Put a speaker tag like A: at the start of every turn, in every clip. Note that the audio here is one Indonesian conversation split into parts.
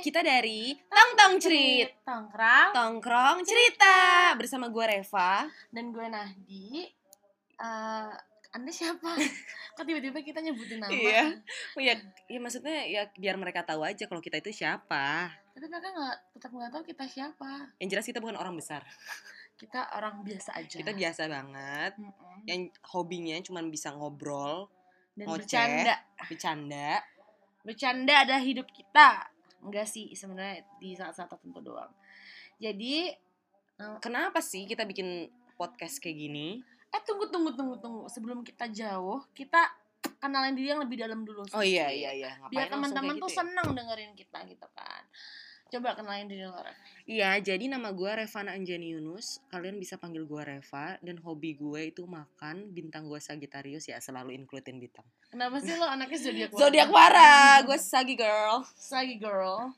A: kita dari Tong Tong Cerit
B: Tongkrang
A: Tongkrong Cerita Bersama gue Reva
B: dan gue Nahdi. Eh, anda siapa? Kok tiba-tiba kita nyebutin nama?
A: Iya. Oh ya, ya maksudnya ya biar mereka tahu aja kalau kita itu siapa
B: Tapi mereka nggak tetap nggak tahu kita siapa.
A: Yang jelas kita bukan orang besar
B: Kita orang biasa aja.
A: Kita biasa banget
B: Mm-mm.
A: Yang hobinya cuman bisa ngobrol,
B: dan
A: ngoceh.
B: bercanda.
A: Ah. bercanda
B: Bercanda ada hidup kita. Enggak sih sebenarnya di saat-saat tertentu doang. Jadi
A: Kenapa sih kita bikin podcast kayak gini?
B: eh tunggu tunggu tunggu tunggu sebelum kita jauh kita kenalin diri yang lebih dalam dulu.
A: Oh iya
B: sedikit.
A: iya iya
B: biar
A: Ngapain langsung
B: teman-teman
A: kayak
B: tuh
A: gitu ya?
B: seneng dengerin kita gitu kan coba kenalin diri lo Ref.
A: Iya, jadi nama gue Revana Anjani Yunus. Kalian bisa panggil gue Reva dan hobi gue itu makan. Bintang gue Sagittarius ya, selalu includein bintang.
B: kenapa sih lo anaknya zodiak
A: Zodiak Wara, gue Sagi girl.
B: lagi girl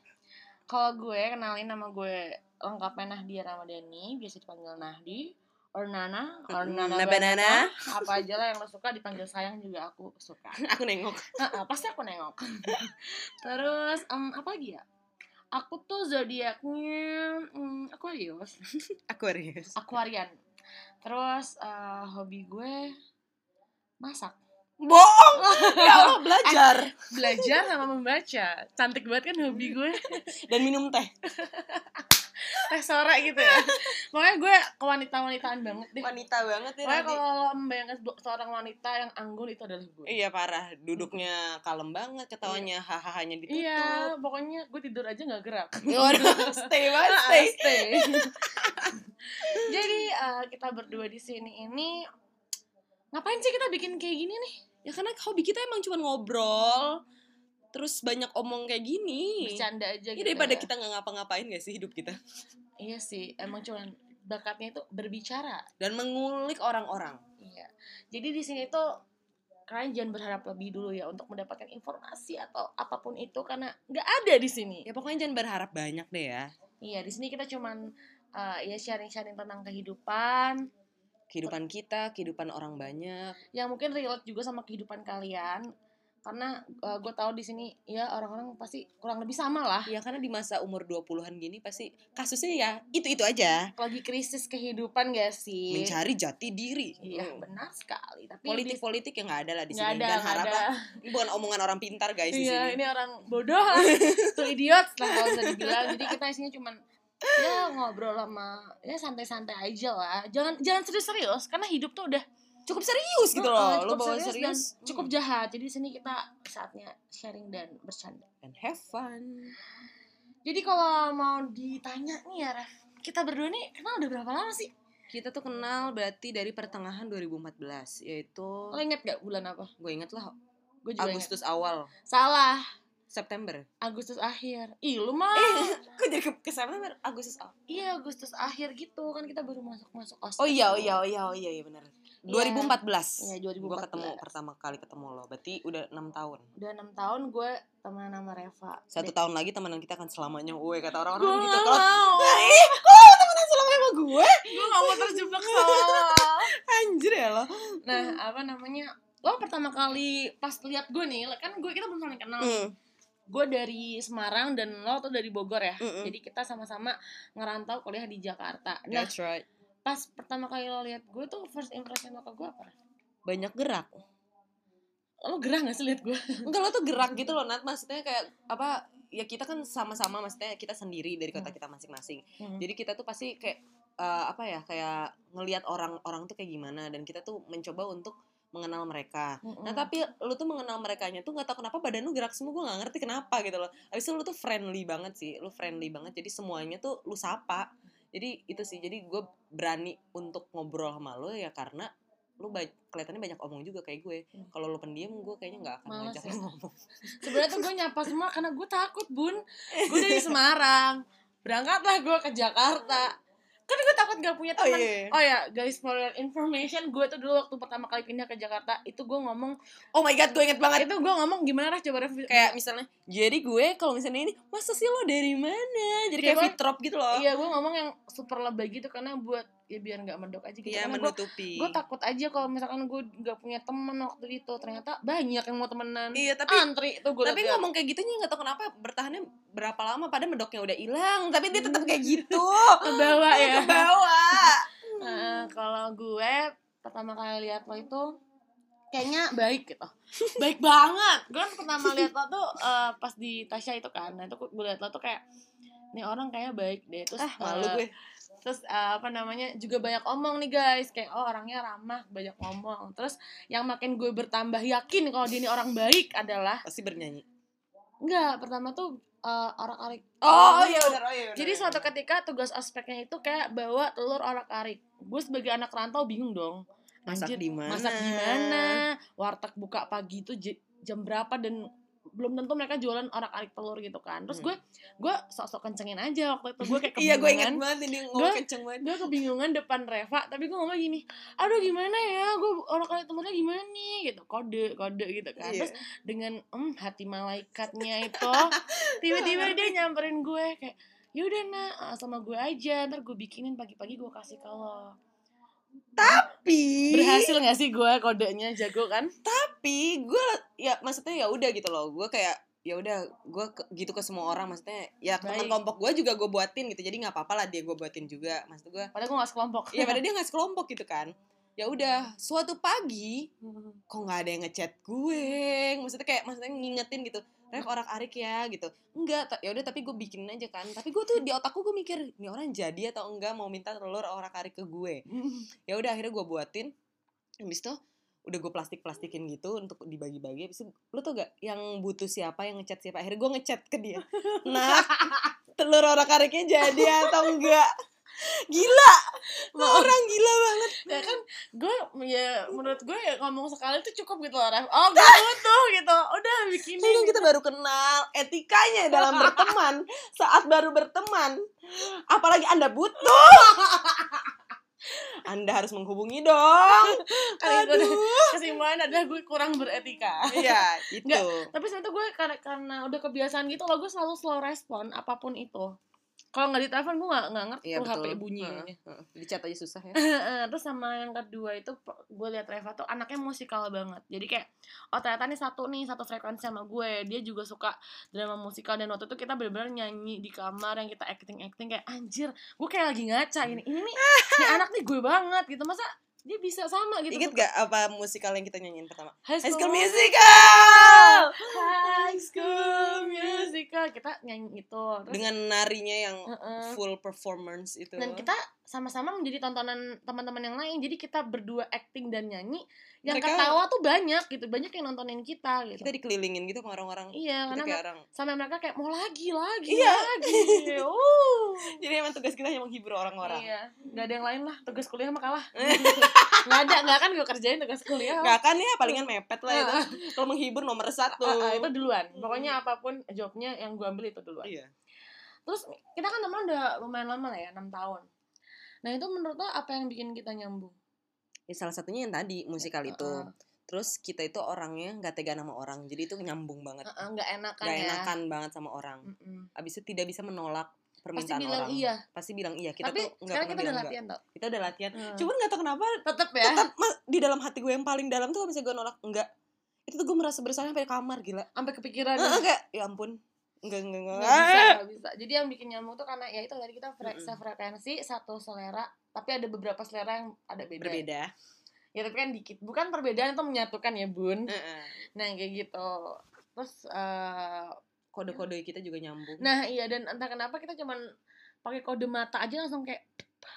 B: kalau gue kenalin nama gue lengkapnya Nahdia Ramadhani biasa dipanggil Nahdi or Nana or
A: Mm,
B: Nana
A: Nana
B: Banana.
A: Banana.
B: apa aja lah yang lo suka dipanggil sayang juga aku suka
A: Aku nengok.
B: Heeh, pasti aku nengok terus em, apa lagi ya aku tuh zodiaknya em, Aquarius
A: Aquarius.
B: akuarian terus eh, hobi gue masak
A: Bohong. ya Allah, belajar.
B: belajar sama membaca cantik banget kan hobi gue
A: Dan minum teh.
B: teh sore gitu ya pokoknya gue kewanita-wanitaan banget deh
A: Wanita banget ya.
B: pokoknya
A: Nanti.
B: kalau lo membayangkan sebu- seorang wanita yang anggun itu adalah gue Gitu.
A: Iya parah, duduknya kalem banget, ketawanya hahahanya ditutup.
B: Iya, pokoknya gue tidur aja nggak gerak
A: gitu. Waduh, Ya stay banget,
B: Ah,
A: stay.
B: stay. jadi eh, kita berdua di sini ini ngapain sih kita bikin kayak gini nih
A: Ya karena hobi kita emang cuma ngobrol, terus banyak omong kayak gini.
B: bercanda
A: Ya
B: aja gitu
A: daripada
B: ya.
A: kita nggak ngapa-ngapain gak sih hidup kita
B: Iya sih, emang cuman bakatnya itu berbicara.
A: dan mengulik orang-orang.
B: Iya. Jadi di sini tuh kalian jangan berharap lebih dulu ya untuk mendapatkan informasi atau apapun itu karena nggak ada di sini.
A: Ya pokoknya jangan berharap banyak deh ya.
B: Iya, di sini kita cuman eh, ya sharing-sharing tentang kehidupan
A: Kehidupan kita, kehidupan orang banyak.
B: yang mungkin relate juga sama kehidupan kalian. Karena gue tahu di sini ya orang-orang pasti kurang lebih sama lah
A: Ya karena di masa umur 20-an gini pasti kasusnya ya itu-itu aja.
B: lagi krisis kehidupan gak
A: Iya.
B: sih?
A: Mencari jati diri.
B: Iya,
A: Hmm.
B: benar sekali. Tapi di-
A: Politik-politik yang nggak ada lah di
B: nggak
A: sini. dan
B: ada, nggak ada.
A: haraplah ini bukan omongan orang pintar guys di sini.
B: Iya, ini orang bodoh, lah. tuh idiot lah kalau bisa dibilang. Jadi kita isinya cuman ya ngobrol sama ya santai-santai aja lah. Jangan jangan serius-serius karena hidup tuh udah
A: Cukup serius gitu
B: Heeh,
A: loh. Lo
B: cukup
A: bawa
B: serius
A: serius,
B: dan
A: hmm.
B: cukup jahat. Jadi di sini kita saatnya sharing dan bercanda.
A: And have fun.
B: Jadi kalau mau ditanya nih ya, Ref, kita berdua nih kenal udah berapa lama sih?
A: Kita tuh kenal berarti dari pertengahan 2014
B: Lo
A: yaitu
B: inget gak bulan apa?
A: gue Oh, iya. inget lah
B: Gue juga inget.
A: Agustus awal,
B: Salah,
A: September.
B: Agustus akhir. Ih, lu mah.
A: Kok jadi ke, ke September Agustus awal?
B: Eh, Iya, Agustus akhir gitu kan kita baru masuk-masuk ospek.
A: Oh iya, oh iya, oh iya, oh iya, iya benar. 2014.
B: Iya,
A: Gue
B: 2014.
A: ketemu pertama kali ketemu lo. Berarti udah enam tahun.
B: udah enam tahun gue temenan sama Reva
A: Satu
B: Dek-
A: tahun lagi temenan kita akan selamanya. Woi, kata
B: gue
A: orang-orang gitu.
B: nggak
A: Kalau
B: mau
A: Ih, kok lo temenan selamanya sama gue?
B: gue nggak mau terjebak soal
A: Anjir ya lo.
B: nah apa namanya lo pertama kali pas lihat gue nih kan gue kita belum saling kenal
A: Mm,
B: gue dari Semarang dan lo tuh dari Bogor ya
A: Mm-mm.
B: jadi kita sama-sama ngerantau kuliah di Jakarta nah
A: That's right.
B: pas pertama kali lo lihat gue tuh first impression lo ke gue apa
A: Banyak gerak.
B: lo gerah gak sih lihat gue
A: Enggak lo tuh gerak gitu loh, Nat. Maksudnya kayak apa? Ya kita kan sama-sama maksudnya kita sendiri dari kota kita masing-masing.
B: Hmm.
A: Jadi kita tuh pasti kayak eh, apa ya? Kayak ngelihat orang-orang tuh kayak gimana dan kita tuh mencoba untuk mengenal mereka. Nah tapi lu tuh mengenal merekanya tuh nggak tau kenapa badan lu gerak semua gue nggak ngerti kenapa gitu loh. Abis itu lu tuh friendly banget sih, lu friendly banget. Jadi semuanya tuh lu sapa. Jadi itu sih, jadi gue berani untuk ngobrol sama lu ya karena lu ba- kelihatannya banyak omong juga kayak gue.
B: Hmm.
A: Kalau lu pendiam gue kayaknya nggak akan
B: Males
A: ngajak
B: ya.
A: lu ngomong.
B: sebenarnya tuh gue nyapa semua karena gue takut bun gue dari Semarang berangkatlah gue ke Jakarta kan gue takut gak punya
A: Oh
B: teman
A: iya.
B: oh ya guys for your information gue tuh dulu waktu pertama kali pindah ke Jakarta itu gue ngomong
A: Oh my god, gue inget banget.
B: itu gue ngomong gimana Raf coba Raf
A: Kayak misalnya, jadi gue kalau misalnya ini, masa sih lo dari mana? Jadi
B: Kayak
A: kayak fitrop gitu loh.
B: iya gue ngomong yang super lebay gitu karena buat ya biar nggak mendok aja gitu
A: Iya
B: Karena gua-
A: menutupi.
B: gue takut aja kalau misalkan gue nggak punya temen waktu itu ternyata banyak yang mau temenan
A: Iya tapi
B: antri tuh gue
A: tapi ngomong kayak gitunya nggak tahu kenapa bertahannya berapa lama pada medoknya udah hilang tapi dia tetap kayak gitu
B: ke bawah ya
A: ke bawah
B: Nah, kalau gue pertama kali lihat lo itu kayaknya baik gitu baik banget gue kan pertama lihat lo tuh eh, pas di Tasya itu kan nah itu gue lihat lo tuh kayak nih orang kayaknya baik deh terus
A: ah malu
B: eh,
A: gue
B: terus eh, apa namanya juga banyak omong nih guys kayak oh orangnya ramah banyak ngomong terus yang makin gue bertambah yakin kalau dia ini orang baik adalah
A: pasti bernyanyi
B: enggak pertama tuh orang arik
A: oh iya benar oh iya benar.
B: jadi suatu ketika tugas ospeknya itu kayak bawa telur orak-arik. Gue sebagai anak rantau bingung dong.
A: masak
B: Anjir,
A: di mana
B: Masak gimana? Warteg buka pagi itu j- jam berapa dan belum tentu mereka jualan orak-arik telur gitu kan. Terus
A: Hmm.
B: gue gue sok-sok kencengin aja waktu itu gue kayak
A: iya gue inget
B: kebingungan.
A: banget ini ngomong
B: Gue-
A: kenceng banget
B: Gue kebingungan depan Reva, tapi gue ngomong gini, aduh gimana ya, gue orak-arik telurnya gimana nih, gitu, kode, kode gitu kan.
A: Iya.
B: Terus dengan em hati malaikatnya itu tiba-tiba dia nyamperin gue kayak yaudah nak ah, sama gue aja ntar gue bikinin pagi-pagi gue kasih ke lo
A: tapi
B: berhasil gak sih gue kodenya jago kan
A: tapi gue ya maksudnya ya udah gitu loh gue kayak ya udah gue ke- gitu ke semua orang maksudnya ya ke teman
B: Baik.
A: kelompok gue juga gue buatin gitu jadi nggak apa-apa lah dia gue buatin juga maksud gue
B: padahal gue gak sekelompok
A: ya pada dia nggak sekelompok gitu kan ya udah suatu pagi kok nggak ada yang ngechat gue maksudnya kayak maksudnya ngingetin gitu Ref orak arik ya gitu enggak ta- ya udah tapi gue bikin aja kan tapi gue tuh di otakku gue mikir ini orang jadi atau enggak mau minta telur orak arik ke gue ya udah akhirnya gue buatin habis itu udah gue plastik plastikin gitu untuk dibagi-bagi habis itu lu tuh gak yang butuh siapa yang ngechat siapa akhirnya gue ngechat ke dia nah telur orak ariknya jadi atau enggak gila Lu orang gila banget
B: ya kan gue ya menurut gue ya ngomong sekali tuh cukup gitu loh Ref. oh gue butuh gitu udah
A: Ini
B: bikinin
A: kan kita baru kenal etikanya dalam berteman saat baru berteman apalagi anda butuh anda harus menghubungi dong
B: Kali itu
A: aduh
B: kesimpulan adalah gue kurang beretika
A: iya itu
B: Nggak, tapi sebenarnya tuh gue karena, karena udah kebiasaan gitu loh gue selalu slow respon apapun itu kalau nggak ditelepon gue nggak nggak ngerti
A: Iya,
B: tuh HP
A: betul.
B: bunyi
A: Heeh. Heeh. dicat aja susah ya
B: Heeh, terus sama yang kedua itu pe- gue liat Reva tuh anaknya musikal banget jadi kayak oh ternyata nih satu nih satu frekuensi sama gue dia juga suka drama musikal dan waktu itu kita bener-bener nyanyi di kamar yang kita acting acting kayak anjir gue kayak lagi ngaca gini ini nih nih anak nih gue banget gitu masa dia bisa sama gitu
A: Ingat gak apa musikal yang kita nyanyiin pertama? High
B: High
A: School
B: School
A: Musical!
B: High School Musical kita nyanyi itu terus
A: Dengan narinya yang
B: Heeh.
A: full performance itu.
B: dan kita sama-sama menjadi tontonan teman-teman yang lain jadi kita berdua acting dan nyanyi yang
A: Mereka-
B: ketawa tuh banyak gitu banyak yang nontonin kita gitu
A: kita dikelilingin gitu sama orang-orang.
B: iya
A: Kita
B: karena
A: kayak orang.
B: sampai mereka kayak mau lagi lagi
A: Iya.
B: lagi uh
A: Jadi emang tugas kita hanya menghibur orang-orang.
B: iya nggak ada yang lain lah tugas kuliah mah kalah nggak ada nggak akan gue kerjain tugas kuliah
A: Gak kan ya palingan mepet lah itu. Hmm.
B: Ah,
A: Kalau menghibur nomor satu.
B: ah, ah, itu duluan pokoknya apapun jobnya yang gue ambil itu duluan
A: Iya.
B: terus kita kan teman udah lumayan lama lah ya enam tahun nah itu menurut lo apa yang bikin kita nyambung
A: Ya, salah satunya yang tadi musikal itu.
B: Heeh.
A: Terus kita itu orangnya nggak tega sama orang. Jadi itu nyambung banget.
B: Heeh, nggak enakan
A: Gak
B: ya
A: enakan banget sama orang.
B: Mm-mm.
A: Abis itu tidak bisa menolak
B: pasti
A: permintaan
B: bilang
A: orang.
B: iya
A: Pasti bilang iya. Kita
B: tapi
A: tuh nggak
B: sekarang
A: pernah
B: kita udah
A: bilang nggak.
B: latihan tau
A: Kita udah latihan.
B: Hmm.
A: Cuman nggak tahu kenapa
B: tetep ya
A: tetap mas- di dalam hati gue yang paling dalam tuh kalau misalnya gue nolak enggak itu tuh gue merasa bersalah sampai kamar gila
B: sampai kepikiran
A: Heeh, kayak ya ampun enggak enggak enggak,
B: nggak bisa nggak bisa jadi yang bikin nyambung tuh karena ya itu tadi kita fre-
A: Mm-mm.
B: sefrekuensi satu selera tapi ada beberapa selera yang ada beda
A: berbeda
B: ya tapi kan dikit bukan perbedaan itu menyatukan ya bun
A: Heeh.
B: nah kayak gitu terus eh,
A: kode-kode kita juga nyambung
B: nah iya dan entah kenapa kita cuman pakai kode mata aja langsung kayak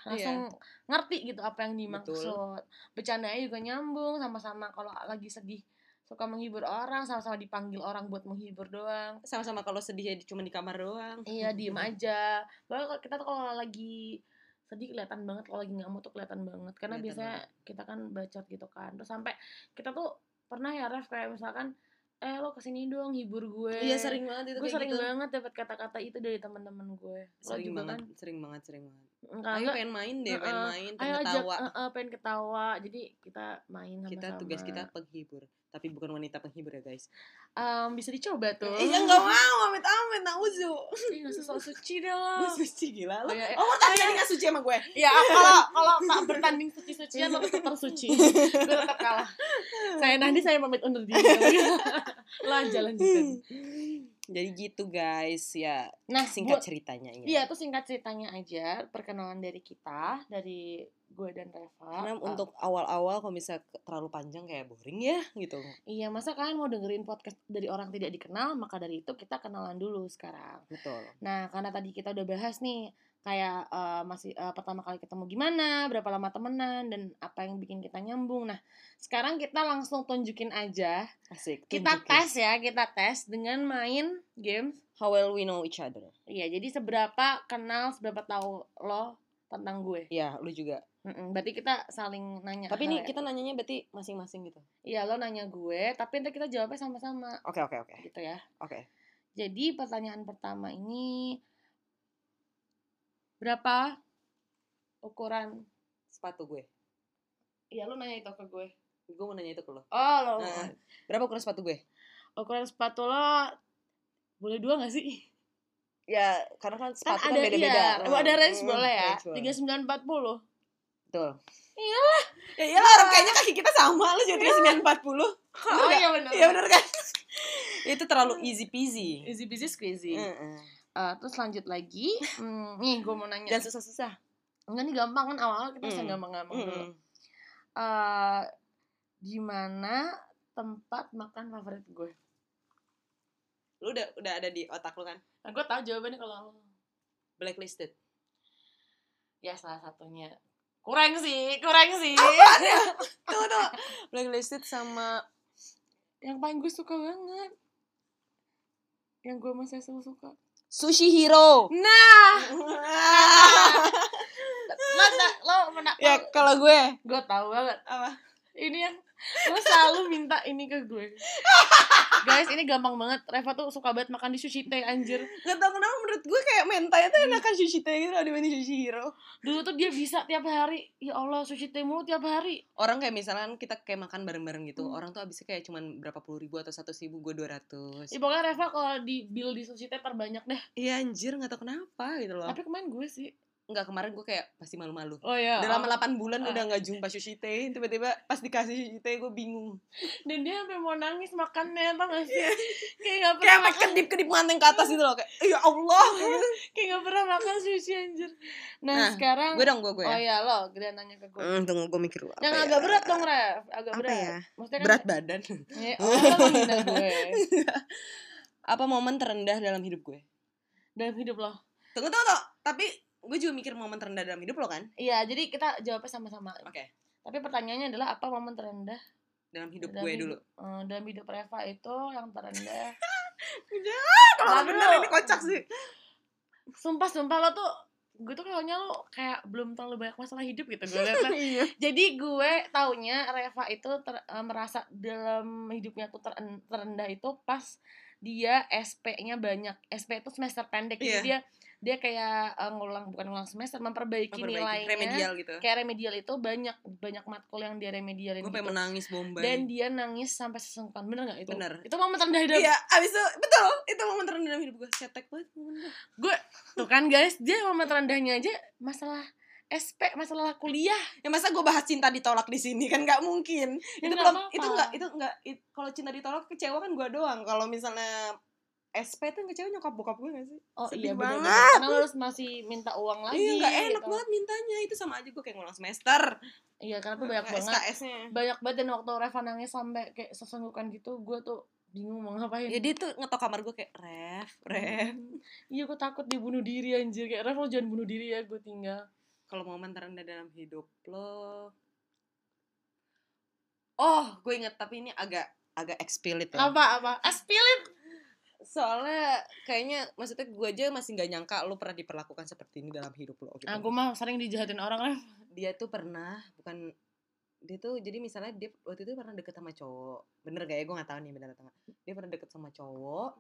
B: langsung
A: Iya.
B: ngerti gitu apa yang dimaksud bercandanya juga nyambung sama-sama kalau lagi sedih suka menghibur orang sama-sama dipanggil orang buat menghibur doang
A: sama-sama kalau sedih ya di- cuma di kamar doang
B: Iya diem aja. Bahkan kalau kita tuh kalau lagi sedih kelihatan banget kalau lagi nggak tuh kelihatan banget karena
A: Kelihatan
B: biasanya kita kan bacot gitu kan terus sampai kita tuh pernah ya ref kayak misalkan eh lo kesini dong hibur gue
A: iya sering banget itu
B: gue
A: kayak
B: sering
A: gitu.
B: banget dapat kata-kata itu dari teman-teman gue Lo
A: sering
B: juga
A: banget
B: kan
A: sering banget sering banget Ayo
B: Karena enggak,
A: pengen main deh, pengen
B: Heeh.
A: main,
B: ayo
A: pengen
B: ajak
A: ketawa.
B: eh, eh, pengen ketawa. Jadi kita main sama-sama.
A: Kita tugas kita penghibur, tapi bukan wanita penghibur ya guys.
B: Em, bisa dicoba tuh.
A: Eh, ya nggak mau, amit amit, nauzu.
B: Ih, nggak usah sok suci deh lo.
A: Lu suci gila lu.
B: Oh, iya, iya.
A: Oh, lu tadi
B: iya.
A: jadi nggak suci sama gue.
B: Ya kalau kalau tak bertanding suci-sucian lo tetap tersuci. Gue tetap kalah. Saya nanti saya pamit undur diri. lo aja lanjutin.
A: Jadi gitu guys, ya
B: Nah,
A: singkat
B: gua-
A: ceritanya ya. ini.
B: Iya, tuh singkat ceritanya aja perkenalan dari kita, dari gue dan Reva.
A: Karena
B: Eh,
A: untuk awal-awal kalau bisa ke- terlalu panjang kayak boring ya gitu.
B: iya, masa kalian mau dengerin podcast dari orang tidak dikenal, maka dari itu kita kenalan dulu sekarang.
A: Betul.
B: Nah, karena tadi kita udah bahas nih kayak eh, masih eh, pertama kali ketemu gimana, berapa lama temenan dan apa yang bikin kita nyambung. Nah, sekarang kita langsung tunjukin aja.
A: Asik.
B: Kita
A: tunjukin.
B: tes ya, kita tes dengan main games.
A: How well we know each other.
B: Iya, jadi seberapa kenal, seberapa tahu lo tentang gue.
A: Ya, lu juga.
B: Mm-mm, berarti kita saling nanya.
A: Tapi
B: hal
A: ini
B: yang-
A: kita nanyanya berarti masing-masing gitu.
B: iya lo nanya gue, tapi nanti kita jawabnya sama-sama
A: Oke, oke, oke.
B: gitu ya.
A: Oke.
B: Jadi pertanyaan pertama ini berapa ukuran
A: Sepatu gue.
B: Iya lu nanya itu ke gue
A: Gue mau nanya itu ke lu.
B: Oh lo
A: Nah, berapa ukuran sepatu gue?
B: Ukuran sepatu lo Boleh dua gak sih?
A: Ya, karena kan sepatu kan,
B: ada
A: beda-beda.
B: iya,
A: Hmm,
B: Ada range
A: hmm,
B: boleh ya
A: range boleh.
B: 3940
A: Betul.
B: Iyalah.
A: Ya iyalah orang kayaknya kaki kita sama lu jadi 940.
B: Oh iya bener
A: Iya benar kan? itu terlalu easy peasy.
B: Easy busy squeezy
A: Heeh.
B: Eh, Terus lanjut lagi Hmm, Nih gue mau nanya
A: Dan susah-susah.
B: Enggak nih gampang kan awal-awal kita bisa
A: Hmm.
B: gampang-gampang dulu
A: Mm.
B: Eh, di mana tempat makan favorit gue?
A: Lu udah udah ada di otak lu kan?
B: Nah, gue tau jawabannya kalau lo-
A: Blacklisted.
B: ya salah satunya kurang sih, kurang sih.
A: Tuh tuh. Blacklisted sama
B: yang paling gue suka banget yang gue masih selalu suka
A: Sushi Hero.
B: nah lo tak- lo pernah
A: ya kalau gue
B: gue tahu banget
A: apa?
B: ini yang lo selalu minta ini ke gue guys ini gampang banget Reva tuh suka banget makan di sushi teh anjir
A: Gak tau kenapa menurut gue kayak mentai tuh enakan sushi teh gitu loh dibanding sushi hero.
B: dulu tuh dia bisa tiap hari ya Allah sushi teh mulu tiap hari
A: Orang kayak misalkan kita kayak makan bareng-bareng gitu,
B: Hmm.
A: orang tuh abisnya kayak cuman berapa puluh ribu atau satu ribu, gue dua ratus.
B: ya, pokoknya Reva kalau di bill di sushi teh terbanyak deh
A: Iya anjir nggak tau kenapa gitu loh.
B: tapi kemarin gue sih
A: Nggak kemarin gue kayak pasti malu-malu.
B: oh ya
A: Dalam 8 bulan
B: Ah.
A: udah nggak jumpa sushi teh, tiba-tiba pas dikasih sushi teh gue bingung.
B: dan dia sampai mau nangis makannya tau gak sih kayak gak pernah
A: Kayak sampai kedip-kedip manteng ke atas gitu loh kayak ya Allah.
B: Kayak gak pernah makan sushi anjir Nah,
A: Nah,
B: sekarang
A: gue dong gue gue.
B: Oh
A: ya.
B: iya lo Gede nanya ke gue
A: Hmm, tunggu gue mikir dulu. apa
B: Yang
A: ya.
B: agak berat dong Ref Agak
A: Apa
B: berat
A: ya?
B: Maksudnya kan
A: Berat badan.
B: ya, orang kan menghina gue
A: Apa momen terendah dalam hidup gue?
B: Dalam hidup lo
A: Tunggu tunggu, tunggu. tapi gue juga mikir momen terendah dalam hidup lo kan?
B: Iya jadi kita jawabnya sama-sama
A: Oke,
B: Tapi pertanyaannya adalah Apa momen terendah
A: dalam hidup
B: Dalam
A: gue
B: hidup.
A: dulu.
B: Eh, Dalam hidup Reva itu Yang terendah
A: Kalau
B: Lalu-
A: bener ini kocak sih.
B: Sumpah-sumpah lo tuh Gue tuh kayaknya lo Kayak belum terlalu banyak masalah hidup gitu Gue liatnya
A: Iya.
B: Jadi gue taunya Reva itu ter- eh, merasa dalam hidupnya tuh teren- terendah itu pas dia SP-nya banyak. SP itu semester pendek. Jadi
A: Iya.
B: dia dia kayak eh, ngulang bukan ngulang semester memperbaiki, nilainya.
A: remedial gitu.
B: Kayak remedial itu banyak banyak matkul yang dia remedialin
A: Gue
B: gitu.
A: pengen menangis bombay.
B: Dan dia nangis sampai sesungkan. Bener gak itu?
A: Bener.
B: Itu momen terendah dalam
A: Iya, abis itu betul itu momen terendah dalam hidup gue. Setek banget momen gue.
B: Tuh kan guys, dia momen terendahnya aja masalah SP, masalah kuliah.
A: Ya masa gue bahas cinta ditolak di sini kan nggak mungkin.
B: Ya,
A: itu
B: nggak
A: belum
B: apa-apa.
A: itu nggak itu nggak it- kalau cinta ditolak kecewa kan gue doang. Kalau misalnya SP tuh yang kecewa nyokap bokap gue gak sih?
B: Oh
A: Sedih
B: iya bener,
A: banget.
B: bener. Karena lo harus masih minta uang lagi.
A: iya nggak enak
B: gitu.
A: banget mintanya itu sama aja gue kayak ngulang semester.
B: Iya karena tuh banyak banget
A: SKS-nya.
B: banyak banget dan waktu Reva nangis sampai kayak sesenggukan gitu gue tuh bingung mau ngapain
A: Jadi tuh ngetok kamar gue kayak ref, ref.
B: iya gue takut dibunuh diri anjir kayak Reva lo jangan bunuh diri ya gue tinggal
A: Kalau momen terendah dalam hidup lo. Oh, gue inget tapi ini agak agak eksplisit lah.
B: apa apa aspilit
A: Soalnya kayaknya maksudnya gue aja masih nggak nyangka lo pernah diperlakukan seperti ini dalam hidup lo. Gitu.
B: nah gue mah sering dijahatin orang Rev
A: Dia tuh pernah bukan dia tuh jadi misalnya dia waktu itu pernah deket sama cowok bener gak ya gue nggak tahu nih bener atau nggak. dia pernah deket sama cowok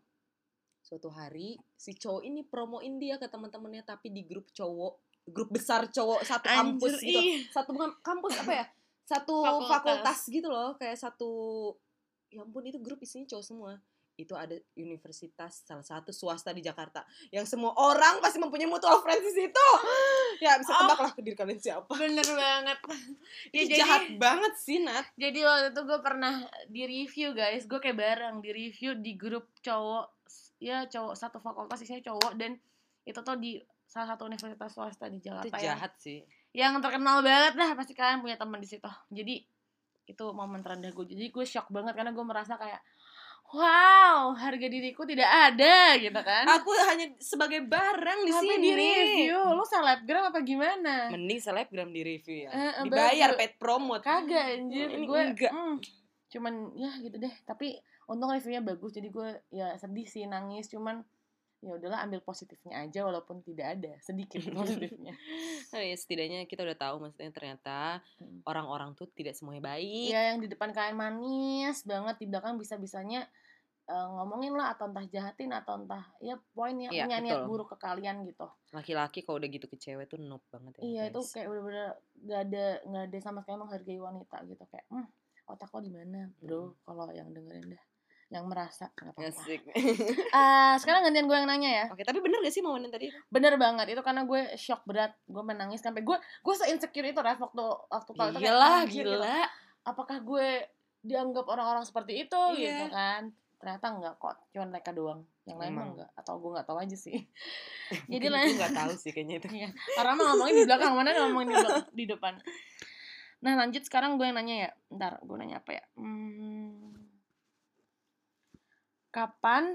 A: suatu hari si cowok ini promoin dia ke teman-temannya tapi di grup cowok grup besar cowok satu kampus
B: Anjir,
A: gitu
B: ih.
A: satu bukan kampus apa ya satu
B: Fakultas.
A: fakultas. gitu loh kayak satu ya ampun itu grup isinya cowok semua itu ada universitas salah satu swasta di Jakarta yang semua orang pasti mempunyai mutual friends di situ ya bisa
B: Oh.
A: tebak lah ke diri kalian siapa
B: Bener banget. ya
A: Ini
B: jadi
A: jahat banget sih Nat
B: jadi waktu itu gue pernah di review guys, gue kayak bareng di review di grup cowok ya cowok satu fakultas isinya cowok dan itu tuh di salah satu universitas swasta di
A: itu
B: Jakarta ya. yang,
A: jahat sih
B: yang terkenal banget lah pasti kalian punya teman di situ. Jadi itu momen terendah gue. Jadi gue shock banget karena gue merasa kayak wow, harga diriku tidak ada gitu kan.
A: aku hanya sebagai barang di
B: Tapi
A: sini
B: di review, lu selebgram apa gimana?
A: mending selebgram di review ya
B: Eh, Kan? eh,
A: dibayar
B: betul.
A: paid promote
B: kagak anjir
A: Ini
B: gue
A: enggak.
B: mm, cuman ya gitu deh tapi untung reviewnya bagus jadi gue ya sedih sih nangis cuman ya udahlah ambil positifnya aja walaupun tidak ada sedikit positifnya
A: Nah, ya setidaknya kita udah tahu maksudnya ternyata
B: Mm.
A: orang-orang tuh tidak semuanya baik
B: ya yang di depan kalian manis banget di belakang bisa bisanya ngomongin lah atau entah jahatin atau entah ya poinnya
A: Iya,
B: punya niat
A: betul.
B: buruk ke kalian gitu
A: laki-laki kalau udah gitu ke cewek tuh noob banget ya
B: iya itu
A: guys.
B: kayak bener-bener gak ada gak ada sama sekali menghargai wanita gitu kayak hmm, otak lo di mana bro
A: Hmm.
B: kalau yang dengerin dah yang merasa nggak apa-apa
A: Asik.
B: Eh, sekarang gantian gue yang nanya ya
A: Oke, tapi bener gak sih momen yang tadi?
B: bener banget itu karena gue shock berat gue menangis sampai gue gue se insecure itu Raf waktu waktu tahu itu kayak,
A: Gila,
B: anjir, gitu.
A: gila.
B: apakah gue dianggap orang-orang seperti itu
A: Iya.
B: gitu kan ternyata enggak kok cuman mereka doang yang lain mah
A: Emang.
B: enggak atau gue nggak tahu aja sih jadi
A: Jadi
B: lah
A: gue gak tahu sih kayaknya itu.
B: Iya. Orang mah ngomongin di belakang, mana ngomongin di, belak- di depan. Nah lanjut sekarang gue yang nanya ya. Ntar gue nanya apa ya. Hmm. Kapan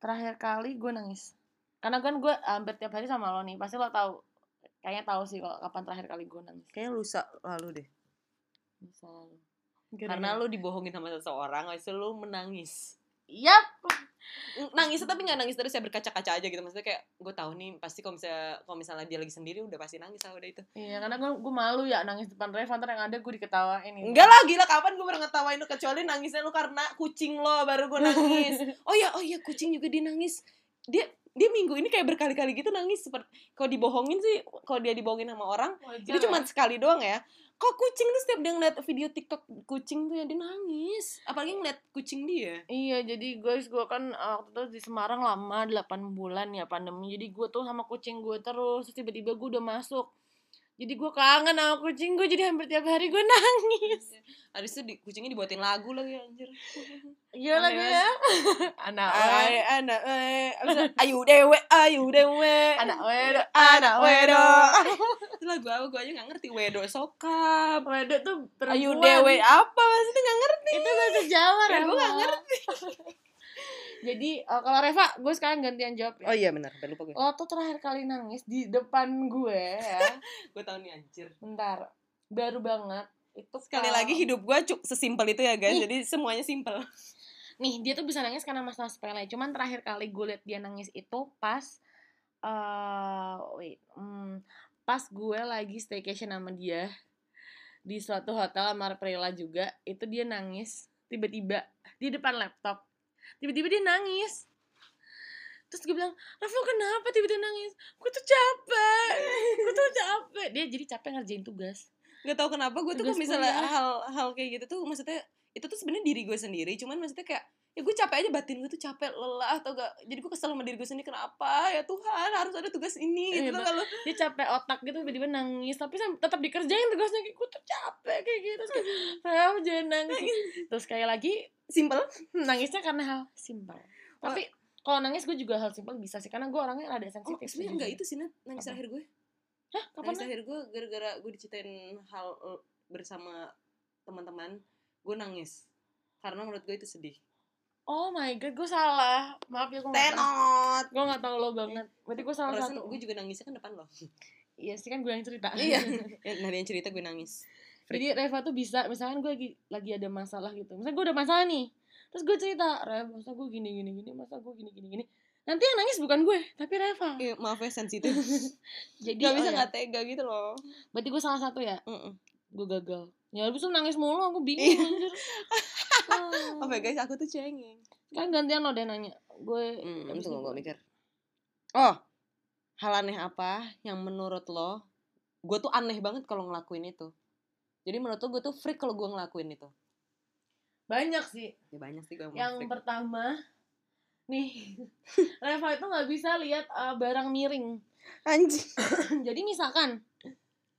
B: terakhir kali gue nangis? Karena kan gue hampir tiap hari sama lo nih. Pasti lo tahu. Kayaknya tahu sih kalau kapan terakhir kali gue nangis.
A: Kayaknya lusa lalu deh.
B: Bisa lo.
A: Karena lu dibohongin sama seseorang, habis itu lu menangis.
B: Yap.
A: Nangis tapi nggak nangis terus ya berkaca-kaca aja gitu. Maksudnya kayak gue tahu nih pasti kalau misalnya kalau misalnya dia lagi sendiri udah pasti nangis lah udah itu.
B: Iya karena gue, gue malu ya nangis depan Reva. Ntar yang ada gue diketawain. ini.
A: Enggak lah gila kapan gue pernah ngetawain lu kecuali nangisnya lu karena kucing lo baru gue nangis. Oh iya, oh iya kucing juga dia nangis. Dia dia minggu ini kayak berkali-kali gitu nangis seperti kalau dibohongin sih kalau dia dibohongin sama orang
B: Wajar
A: itu
B: ya.
A: cuma sekali doang ya kok kucing tuh setiap dia ngeliat video tiktok kucing tuh ya dia nangis apalagi ngeliat kucing dia
B: Iya, jadi guys, gue kan uh, waktu itu di Semarang lama 8 bulan ya pandemi. Jadi gue tuh sama kucing gue terus, terus tiba-tiba gue udah masuk. Jadi gue kangen sama kucing gue, jadi hampir tiap hari gue nangis.
A: habis itu di, kucingnya dibuatin lagu lagi anjir
B: Iya lah gue ya. Anak
A: Ay, anak eh ayu dewe ayu dewe
B: anak wedo,
A: anak
B: wedo.
A: wedo itu lagu apa gue aja nggak ngerti wedo sokap
B: Wedo tuh perempuan.
A: ayu dewe apa maksudnya nggak ngerti
B: Itu bahasa Jawa,
A: Ya, gue nggak
B: Reva. jadi uh, kalau Reva, gue sekarang gantian jawab ya.
A: oh iya benar udah lupa gue
B: Lo tuh terakhir kali nangis di depan gue ya.
A: gue tahu nih anjir
B: Bentar, baru banget. Itu
A: sekali
B: kalau-
A: lagi hidup gue cuk sesimpel itu ya guys
B: Ih.
A: jadi semuanya simpel
B: nih dia tuh bisa nangis karena masalah sepele cuman terakhir kali gue liat dia nangis itu pas eh wait hmm, pas gue lagi staycation sama dia di suatu hotel sama Prela juga itu dia nangis tiba-tiba di depan laptop tiba-tiba dia nangis terus gue bilang Rafa kenapa tiba-tiba nangis gue tuh capek gue tuh capek dia jadi capek ngerjain tugas
A: nggak tahu kenapa gue tuh kalau
B: Tugas ya.
A: misalnya
B: kuliah.
A: hal-hal kayak gitu tuh maksudnya itu tuh sebenarnya diri gue sendiri cuman maksudnya kayak ya gue capek aja batin gue tuh capek lelah atau gak jadi gue kesel sama diri gue sendiri kenapa ya Tuhan harus ada tugas ini
B: Iya,
A: gitu tuh kalau
B: dia capek otak gitu tiba-tiba nangis tapi sam- tetap dikerjain tugasnya kayak gue tuh capek kayak gitu terus kayak "Raf, jangan nangis terus sekali lagi
A: simple
B: nangisnya karena hal simpel tapi kalau nangis gue juga hal simpel bisa sih karena gue orangnya rada
A: oh
B: sensitif
A: sebenarnya enggak itu sih Nat nangis
B: gitu Apa?
A: terakhir gue
B: Hah, kapan
A: nangis terakhir gue gara-gara gue diceritain hal eh, bersama teman-teman gue nangis karena menurut gue itu sedih
B: oh my god gue salah maaf ya gue nggak tahu
A: tenot
B: gue nggak tahu lo banget berarti gue
A: Iya.
B: salah
A: perasaan
B: satu
A: gue juga nangisnya kan depan lo
B: iya sih kan gue yang cerita
A: iya Ya, nah dia yang cerita gue nangis
B: Jadi Reva tuh bisa, misalkan gue lagi lagi ada masalah gitu. Misalkan gue ada masalah nih. Terus gue cerita, Rev, masa gue gini gini gini, masa gue gini gini gini. Nanti yang nangis bukan gue, tapi Reva.
A: Iya, maaf ya sensitif
B: Jadi
A: gak bisa
B: oh ya,
A: nggak tega gitu loh
B: Berarti gue salah satu ya,
A: Mm-mm.
B: gue gagal. Ya habis itu nangis mulu, aku bingung anjir.
A: Oh my guys, aku tuh cengeng.
B: Kan gantian lo deh nanya. Gue
A: Hmm,
B: habis itu
A: tunggu gue
B: gue-
A: mikir. Oh, hal aneh apa yang menurut lo gue tuh aneh banget kalau ngelakuin itu jadi menurut lo gue tuh freak kalau gue ngelakuin itu
B: Banyak sih.
A: ya banyak sih gue emang
B: Yang
A: freak.
B: pertama, nih, Reva itu nggak bisa lihat eh, barang miring.
A: anjing
B: Jadi misalkan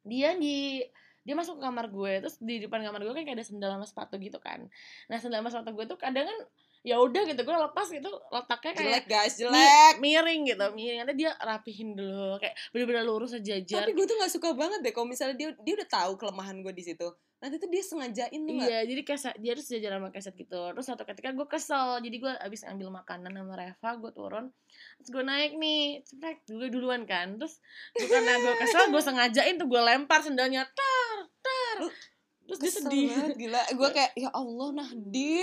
B: dia di dia masuk ke kamar gue, terus di depan kamar gue kan kayak ada sendal sama sepatu gitu kan. Nah sendal sama sepatu gue tuh kadang kan ya udah gitu gue lepas gitu letaknya kayak
A: jelek guys
B: mi-
A: jelek
B: miring gitu miring nanti dia rapihin dulu kayak bener-bener lurus sejajar
A: tapi gue tuh nggak suka banget deh kalau misalnya dia dia udah tahu kelemahan gue di situ nanti tuh dia sengajain tuh nggak?
B: Iya, jadi keset, dia harus sejajar sama keset gitu. Terus satu ketika gue kesel, jadi gue abis ngambil makanan sama Reva, gue turun, terus gue naik nih, ceprek, gue duluan kan. Terus gue- karena gue kesel, gue sengajain tuh gue lempar sendalnya, tar, tar.
A: Lu
B: Terus dia
A: Kesel
B: sedih.
A: banget, gila gue kayak ya Allah Nahdi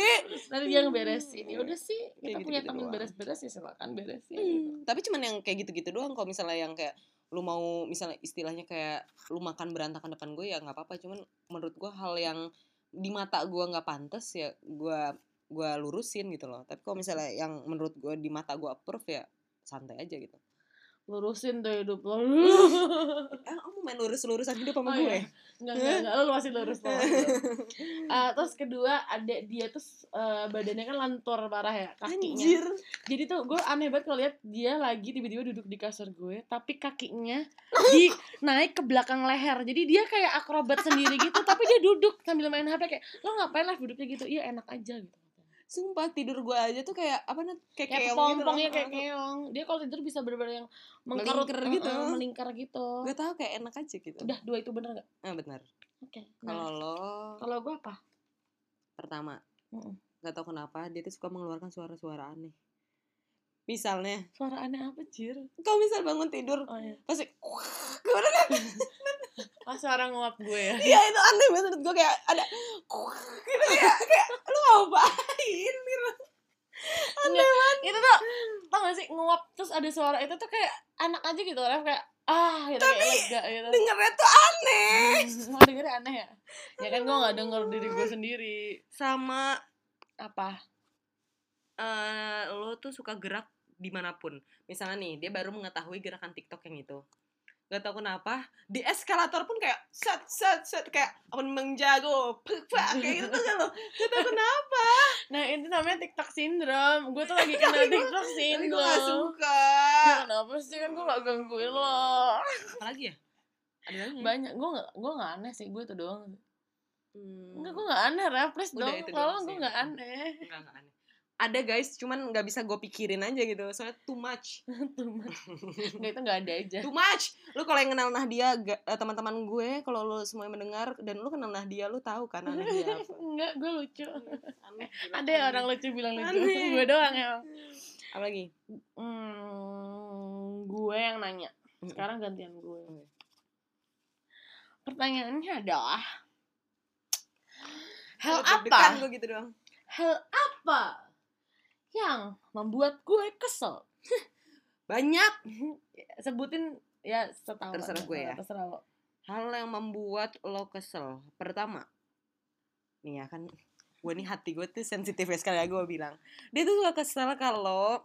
B: Nanti dia ngeberesin. Ya udah sih, kita
A: Kayak
B: punya
A: gitu-gitu
B: temen
A: doang.
B: beres-beres ya silakan beresin. gitu.
A: Hmm, tapi cuman yang kayak gitu-gitu doang kalau misalnya yang kayak lu mau misalnya istilahnya kayak lu makan berantakan depan gue ya nggak apa-apa cuman menurut gue hal yang di mata gue nggak pantas ya gue gue lurusin gitu loh tapi kalau misalnya yang menurut gue di mata gue approve ya santai aja gitu
B: Lurusin tuh hidup lo.
A: eh kamu main lurus-lurusan hidup sama
B: Oh,
A: gue ya?
B: iya. Enggak, enggak, enggak. Lu masih lurus lo. terus kedua, ada dia tuh eh, badannya kan lentur parah ya, kakinya.
A: anjir
B: Jadi tuh gue aneh banget kalau lihat dia lagi tiba-tiba duduk di kasur gue, tapi kakinya di naik ke belakang leher. Jadi dia kayak akrobat sendiri gitu, tapi dia duduk sambil main HP kayak lo ngapain lah duduknya gitu? Iya enak aja gitu.
A: sumpah tidur gue aja tuh kayak apa nih kayak keong
B: Kayak kepompong ya
A: gitu
B: kayak keong. Dia kalau tidur bisa bener-bener yang mengkerut
A: Melingkar
B: eh,
A: gitu.
B: eh, melingkar gitu.
A: gue tau kayak enak aja gitu
B: Udah dua itu bener gak?
A: ah benar
B: Oke.
A: kalau
B: Nah,
A: lo
B: kalau gue apa?
A: pertama
B: Mm-mm.
A: nggak tahu kenapa dia tuh suka mengeluarkan suara-suara aneh misalnya
B: Suara aneh apa jir?
A: kalau misal bangun tidur
B: Oh iya.
A: pasti gue udah liat,
B: Ah suara nguap gue ya.
A: iya itu aneh banget menurut gue kayak ada gitu ya kayak lu ngapain
B: itu tuh tau gak sih nguap terus ada suara itu tuh kayak anak aja gitu Ref kayak ah gitu kayak lega gitu
A: dengernya tuh aneh
B: mau dengernya aneh ya ya kan gue gak denger diri gue sendiri
A: sama
B: apa
A: eh, lo tuh suka gerak dimanapun misalnya nih dia baru mengetahui gerakan TikTok yang itu gak tau kenapa di eskalator pun kayak set set set kayak apa mengjago pek, pek, kayak gitu tuh lo gak tau kenapa
B: nah itu namanya tiktok syndrome gue tuh lagi kena tiktok
A: tapi gue gak
B: syndrome
A: suka
B: Ya, kenapa sih kan gue gak gangguin lo
A: apalagi ya ada lagi nggak?
B: banyak gue gak gue gak aneh sih gue itu doang
A: Hmm.
B: enggak gue gak aneh Ref please
A: Udah,
B: dong
A: itu doang
B: tolong
A: sih.
B: gue gak aneh
A: Enggak, enggak aneh. Ada guys, cuman nggak bisa gue pikirin aja gitu. Soalnya too much.
B: Tuh, enggak itu gak ada aja
A: Too much. Lu kalau yang kenal Nahdia, ga- eh, teman-teman gue, kalau lu semua yang mendengar dan lu kenal Nahdia, lu tahu kan aneh dia apa.
B: enggak gue lucu
A: Aneh, gila,
B: ada ya
A: aneh.
B: orang lucu bilang lucu
A: Aneh.
B: gue doang emang
A: apa lagi?
B: Hmm, gue yang nanya. Sekarang gantian
A: Oke.
B: gue. Pertanyaannya adalah hal
A: Lu
B: apa?
A: deg-degan Gue gitu doang.
B: Hal apa yang membuat gue kesel?
A: Banyak
B: Sebutin ya setahu.
A: Terserah gue ya.
B: Terserah lo.
A: hal yang membuat lo kesel. Pertama, nih ya kan gue nih hati gue tuh sensitif ya sekali lagi gue bilang dia tuh suka kesel kalau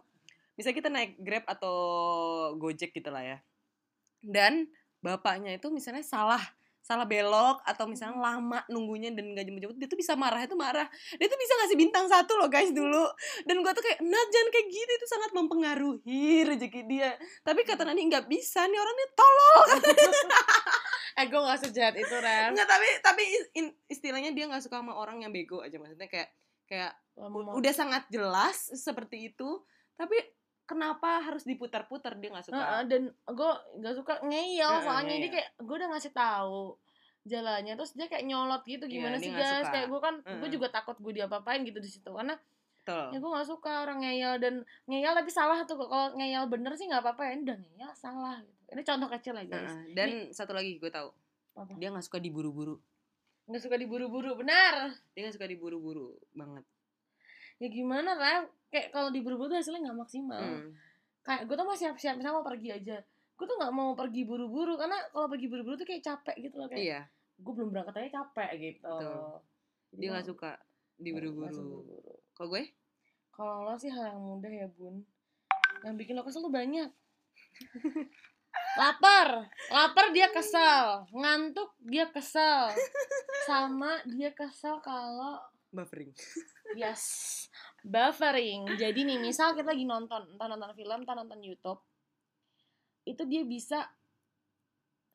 A: bisa kita naik grab atau gojek gitu lah ya dan bapaknya itu misalnya salah salah belok atau misalnya lama nunggunya dan gak jemput-jemput dia tuh bisa marah itu marah dia tuh bisa ngasih bintang satu loh guys dulu dan gue tuh kayak nah jangan kayak gitu itu sangat mempengaruhi rezeki dia tapi kata Nani nggak bisa nih orangnya tolol
B: Eh gue gak sejahat itu Ren.
A: Enggak, tapi tapi is- in- istilahnya dia nggak suka sama orang yang bego aja maksudnya kayak kayak
B: Ngomong-
A: udah sangat jelas seperti itu, tapi kenapa harus diputar-putar dia nggak suka.
B: Heeh, dan gue gak suka ngeyel
A: Heeh,
B: soalnya dia
A: ngeyel.
B: kayak gue udah ngasih tahu jalannya terus dia kayak nyolot gitu
A: Iya,
B: gimana
A: dia
B: sih
A: nggak
B: guys
A: suka.
B: kayak gue kan gue
A: Heeh.
B: juga takut gue diapa-apain gitu di situ karena
A: Betul.
B: ya gue gak suka orang ngeyel dan ngeyel tapi salah tuh kalau ngeyel bener sih nggak apa-apa ya ini udah ngeyel salah gitu ini contoh kecil aja guys
A: Heeh, Dan satu lagi gue tahu,
B: Apa?
A: dia nggak suka diburu-buru.
B: nggak suka diburu-buru benar
A: Dia nggak suka diburu-buru banget.
B: ya gimana lah kayak kalau diburu-buru tuh hasilnya nggak maksimal
A: Hmm.
B: kayak gue tuh mau siap-siap misalnya mau pergi aja gue tuh nggak mau pergi buru-buru karena kalau pergi buru-buru tuh kayak capek gitu loh kayak
A: Iya,
B: gue belum berangkat aja capek gitu
A: Betul.
B: Jadi
A: dia
B: gua
A: nggak suka
B: nggak suka
A: diburu-buru.
B: buru-buru.
A: Kalau gue?
B: kalau lo sih hal yang mudah ya bun yang bikin lo kesel tuh banyak lapar lapar dia kesel ngantuk dia kesel sama dia kesel kalau
A: buffering
B: yes buffering jadi nih misal kita lagi nonton entah nonton film entah nonton YouTube itu dia bisa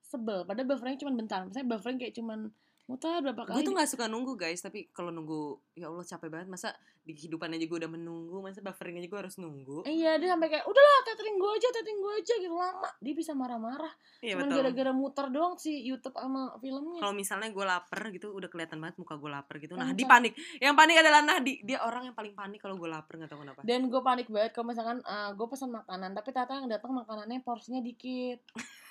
B: sebel padahal buffering cuma bentar misalnya buffering kayak cuman muter berapa
A: gue
B: kali
A: tuh nggak suka nunggu guys tapi kalau nunggu ya allah capek banget masa di kehidupan aja gue udah menunggu masa buffering aja gue harus nunggu
B: Iya dia sampai kayak udahlah tethering gue aja tethering gue aja gitu lama dia bisa marah-marah
A: iya
B: cuman
A: betul
B: gara-gara muter doang si YouTube sama filmnya
A: kalau misalnya gue lapar gitu udah kelihatan banget muka gue lapar gitu
B: Kan
A: nah di
B: kan.
A: panik yang panik adalah Nahdi dia orang yang paling panik kalau gue lapar nggak tahu kenapa
B: dan gue panik banget kalau misalkan gue pesan makanan tapi ternyata yang datang makanannya porsinya dikit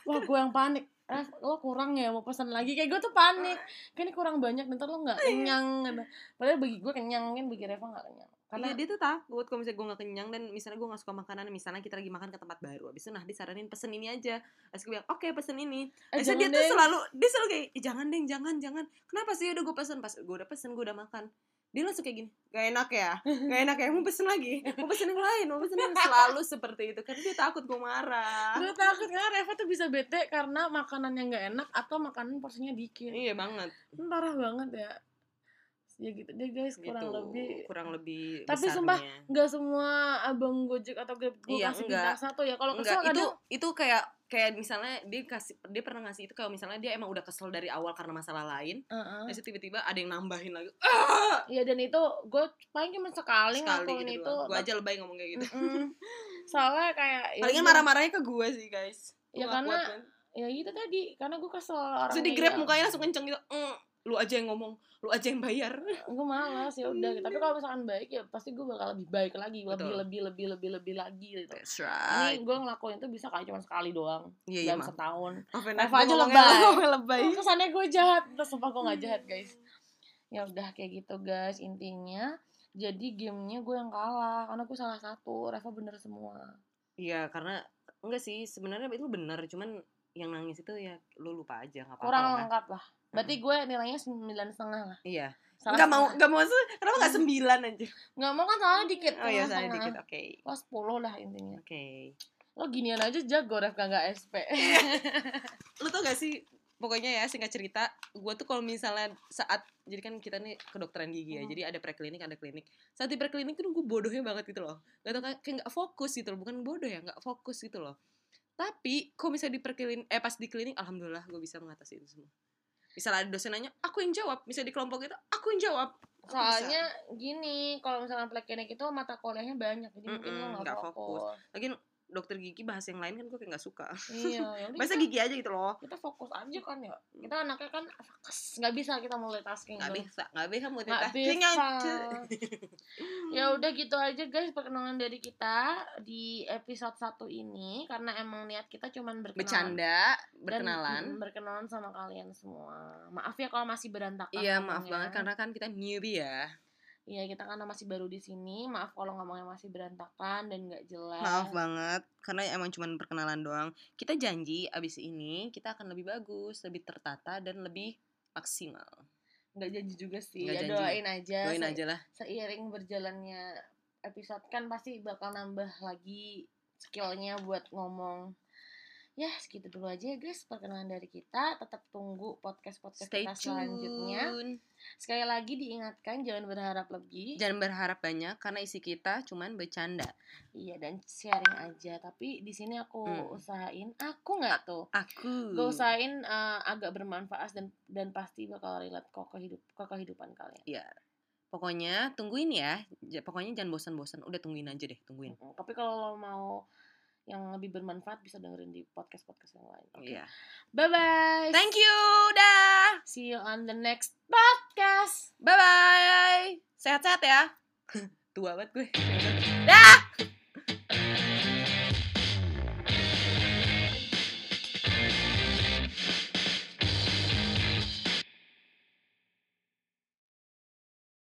B: wah gue yang panik Ref, lo kurang ya mau pesan lagi kayak gue tuh panik kan ini kurang banyak ntar lo nggak kenyang gitu. padahal bagi gue kenyang kan bagi Reva nggak kenyang karena
A: Iya, dia tuh takut kalau misalnya gue gak kenyang dan misalnya gue gak suka makanan misalnya kita lagi makan ke tempat baru abis itu nah disaranin pesen ini aja terus gue bilang oke pesen ini
B: eh,
A: Terus
B: jangan
A: dia tuh
B: deh.
A: selalu dia selalu kayak "Ih, jangan deng jangan jangan kenapa sih udah gue pesen pas gue udah pesen gue udah makan dia langsung kayak gini gak enak ya gak enak ya mau pesen lagi mau pesen yang lain mau pesen yang selalu seperti itu karena dia takut gue marah
B: gue takut karena Reva tuh bisa bete karena makanannya nggak enak atau makanan porsinya dikit
A: iya banget
B: Ini parah banget ya ya gitu deh guys kurang
A: gitu
B: lebih
A: kurang lebih
B: Tapi
A: besarnya.
B: sumpah, nggak semua abang gojek atau grab gue
A: Iya,
B: kasih
A: enggak.
B: bintang satu ya kalau
A: Enggak,
B: kesel
A: itu
B: kadang
A: itu kayak kayak misalnya dia kasih dia pernah ngasih itu kalau misalnya dia emang udah kesel dari awal karena masalah lain
B: Heeh.
A: terus tiba-tiba ada yang nambahin lagi
B: Iya dan itu gue paling cuma
A: sekali
B: sekali, ngelakuin
A: gitu
B: itu.
A: gue aja lebay ngomong kayak gitu
B: Mm-mm. Soalnya kayak ya
A: palingan
B: udah.
A: marah-marahnya ke gue sih guys
B: Ya,
A: Gua nggak
B: karena
A: kuat, kan.
B: ya itu tadi karena gue kesel ya. orang.
A: Terus di grab mukanya langsung kenceng gitu "Mm, lu aja yang ngomong lu aja yang bayar
B: Gue malas ya udah. Tapi kalau misalkan baik ya pasti gue bakal lebih baik lagi, lebih
A: Betul.
B: lebih lebih lebih lebih lagi gitu.
A: that's
B: Ini gue ngelakuin itu bisa kayak cuma sekali doang
A: iya iya
B: dalam
A: maaf
B: setahun.
A: Maafin
B: Reva
A: aku
B: aja
A: ngomongnya
B: lebay.
A: ngomongnya lebay
B: Oh, kesannya gue jahat terus sumpah gue gak jahat guys ya udah kayak gitu guys intinya jadi gamenya gue yang kalah karena gue salah satu Reva bener semua
A: iya karena enggak sih sebenarnya itu bener cuman yang nangis itu ya lu lupa aja nggak
B: kurang
A: apa-apa lah.
B: lengkap lah berarti gue nilainya sembilan setengah lah
A: iya Hmm.
B: salah
A: nggak mau
B: setengah.
A: nggak mau se- kenapa nggak sembilan aja
B: nggak mau kan salah dikit
A: oh iya saya
B: setengah.
A: dikit oke
B: Lo 10 lah intinya
A: oke
B: Lo ginian aja jago Ref gak nggak SP
A: lu tau gak sih pokoknya ya singkat cerita gue tuh kalau misalnya saat jadi kan kita nih kedokteran gigi ya
B: Hmm.
A: jadi ada preklinik ada klinik saat di preklinik tuh gue bodohnya banget gitu loh gak tau kayak kayak nggak fokus gitu loh bukan bodoh ya nggak fokus gitu loh tapi kalau misalnya di perklinik eh pas di klinik alhamdulillah gue bisa mengatasi itu semua misalnya ada dosen nanya aku yang jawab misalnya di kelompok itu aku yang jawab Aku bisa.
B: Soalnya gini Kalau misalkan plekinik itu mata kuliahnya banyak Jadi mungkin lo
A: Mm-mm,
B: gak
A: nggak
B: fokus,
A: fokus. lagian dokter gigi bahas yang lain kan gue kayak nggak suka
B: Iya ya udah
A: bahasa
B: kita-
A: gigi aja gitu loh
B: kita fokus aja kan ya kita anaknya kan fokus nggak bisa kita multitasking
A: Hmm. nggak
B: gitu.
A: bisa nggak bisa mau
B: nggak bisa ya udah gitu aja guys perkenalan dari kita di episode satu ini karena emang niat kita cuman berkenalan
A: bercanda
B: Dan,
A: berkenalan
B: mm, berkenalan sama kalian semua maaf ya kalau masih berantakan
A: Iya maaf
B: ngomongnya.
A: banget karena kan kita newbie ya.
B: iya kita karena masih baru di sini maaf kalau ngomongnya masih berantakan dan nggak jelas
A: Maaf banget karena emang cuma perkenalan doang. Kita janji abis ini kita akan lebih bagus, lebih tertata dan lebih maksimal.
B: nggak janji juga sih
A: Nggak
B: ya
A: janji.
B: doain aja
A: Doain
B: Se-
A: aja lah.
B: seiring berjalannya episode kan pasti bakal nambah lagi skillnya buat ngomong ya segitu dulu aja ya guys perkenalan dari kita tetap tunggu podcast podcast
A: Stay
B: kita selanjutnya
A: tune.
B: sekali lagi diingatkan jangan berharap lebih
A: Jangan berharap banyak karena isi kita cuman bercanda.
B: iya dan sharing aja tapi di sini aku
A: Hmm.
B: usahain aku nggak tuh
A: Aku.
B: gue usahain eh, agak bermanfaat dan dan pasti bakal relate kok ke hidup ke kehidupan kalian
A: Pokoknya tungguin ya. J- Pokoknya jangan bosan-bosan. Udah tungguin aja deh, tungguin.
B: Mm-mm. tapi kalau lo mau yang lebih bermanfaat bisa dengerin di podcast podcast yang lain Oke.
A: Iya.
B: Bye bye.
A: Thank you. Dah.
B: See you on the next podcast.
A: Bye bye. Sehat-sehat ya. Tua banget gue. Dah.